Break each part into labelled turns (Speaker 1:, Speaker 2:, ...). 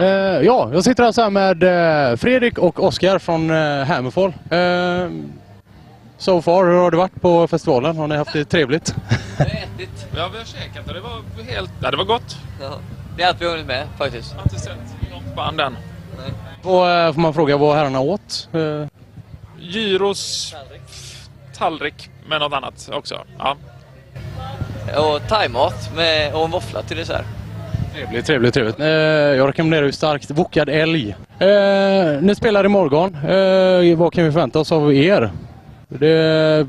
Speaker 1: Eh, ja, jag sitter alltså här med eh, Fredrik och Oskar från eh, Hammerfall. Eh, so far, hur har det varit på festivalen? Har ni haft det trevligt?
Speaker 2: ätit.
Speaker 3: Ja, vi har käkat och det var helt... Ja, det var gott.
Speaker 2: Det är allt vi har hunnit med faktiskt.
Speaker 3: Jag har inte sett något band än.
Speaker 1: Vad eh, får man fråga vad herrarna åt? Eh,
Speaker 3: Gyros tallrik med något annat också. Ja.
Speaker 2: Och thaimat med, och en våffla till dessert.
Speaker 1: trevligt, trevligt, trevligt. Eh, jag rekommenderar ju starkt Wokad älg. Eh, ni spelar imorgon. Eh, vad kan vi förvänta oss av er? Det,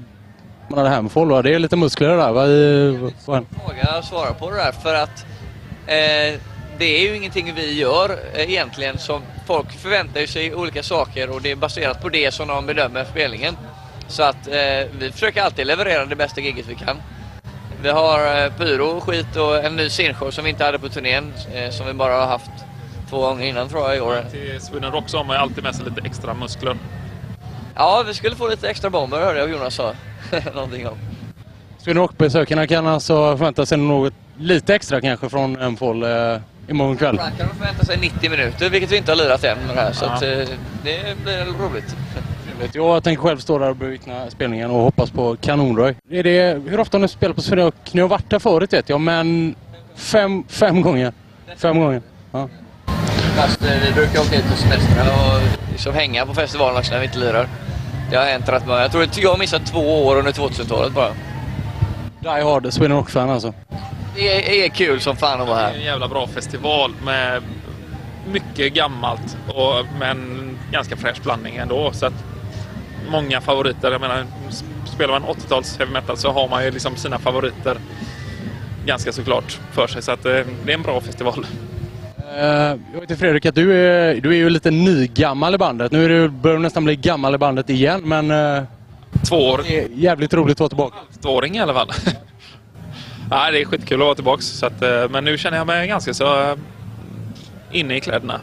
Speaker 1: man hade Hammerfall, va? Det är lite muskler där, va? I, vad-
Speaker 2: Fråga att svara på det där för att eh, det är ju ingenting vi gör eh, egentligen som folk förväntar ju sig olika saker och det är baserat på det som de bedömer spelningen. Så att eh, vi försöker alltid leverera det bästa giget vi kan. Vi har eh, pyro, skit och en ny scenshow som vi inte hade på turnén eh, som vi bara har haft två gånger innan tror jag i år.
Speaker 3: Till Sweden Rock så har man ju alltid med sig lite extra muskler.
Speaker 2: Ja, vi skulle få lite extra bomber hörde jag Jonas sa någonting om.
Speaker 1: Sweden Rock-besökarna kan alltså förvänta sig något lite extra kanske från Hammerfall eh, imorgon kväll?
Speaker 2: Frank kan de förvänta sig 90 minuter, vilket vi inte har lirat än med det här. Så
Speaker 3: Ja.
Speaker 2: att, eh, det blir roligt.
Speaker 1: Vet, Jag tänker själv stå där och bevittna spelningen och hoppas på kanonröj. Är det, hur ofta har ni spelat på Sweden Rock? Ni har varit där förut vet jag, men fem, fem gånger. Fem gånger. Ja.
Speaker 2: Fast eh, vi brukar åka hit på semestrar och liksom hänga på festivalen också när vi inte lirar. Det har hänt rätt många. Jag tror att jag har missat två år under 2000-talet bara.
Speaker 1: Die Hard Sweden Rock-fan alltså.
Speaker 2: Det är, är kul som fan att vara
Speaker 3: Det är en
Speaker 2: här.
Speaker 3: jävla bra festival med mycket gammalt och med en ganska fräsch blandning ändå. Så att många favoriter. Jag menar, s- spelar man 80-tals heavy metal så har man ju liksom sina favoriter ganska såklart för sig. Så att eh, det är en bra festival.
Speaker 1: Eh, Jag vet ju Fredrik att du är, du är ju lite nygammal i bandet. Nu är du, börjar du nästan bli gammal i bandet igen men eh,
Speaker 3: Två år
Speaker 1: det är jävligt roligt att vara tillbaka.
Speaker 3: tvååring i alla fall. Nej, det är skitkul att vara tillbaka. Så att, eh, men nu känner jag mig ganska så eh, inne i kläderna.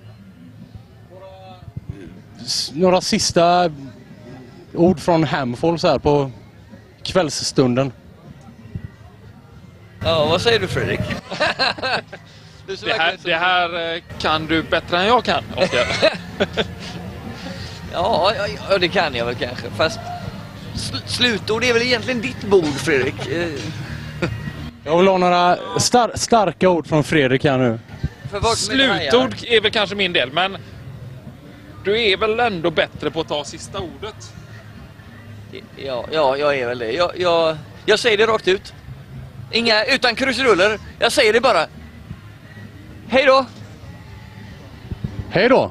Speaker 1: S- Några sista ord från Hamfall så här på kvällsstunden.
Speaker 2: Ja, vad säger du Fredrik? du ser
Speaker 3: Det här,
Speaker 2: verkligen så-
Speaker 3: det här eh, kan du bättre än jag kan, Oskar.
Speaker 2: Ja, ja, ja, det kan jag väl kanske. Fast sl slutord är väl egentligen ditt bord Fredrik? Eh,
Speaker 1: Jag vill ha några star- starka ord från Fredrik här nu.
Speaker 2: för vart med det här?
Speaker 3: Slutord är väl kanske min del, men du är väl ändå bättre på att ta sista ordet?
Speaker 2: Ja, ja, jag är väl det. Jag, jag, jag säger det rakt ut. Inga, utan krusiduller. Jag säger det bara. Hej då!
Speaker 1: Hej då!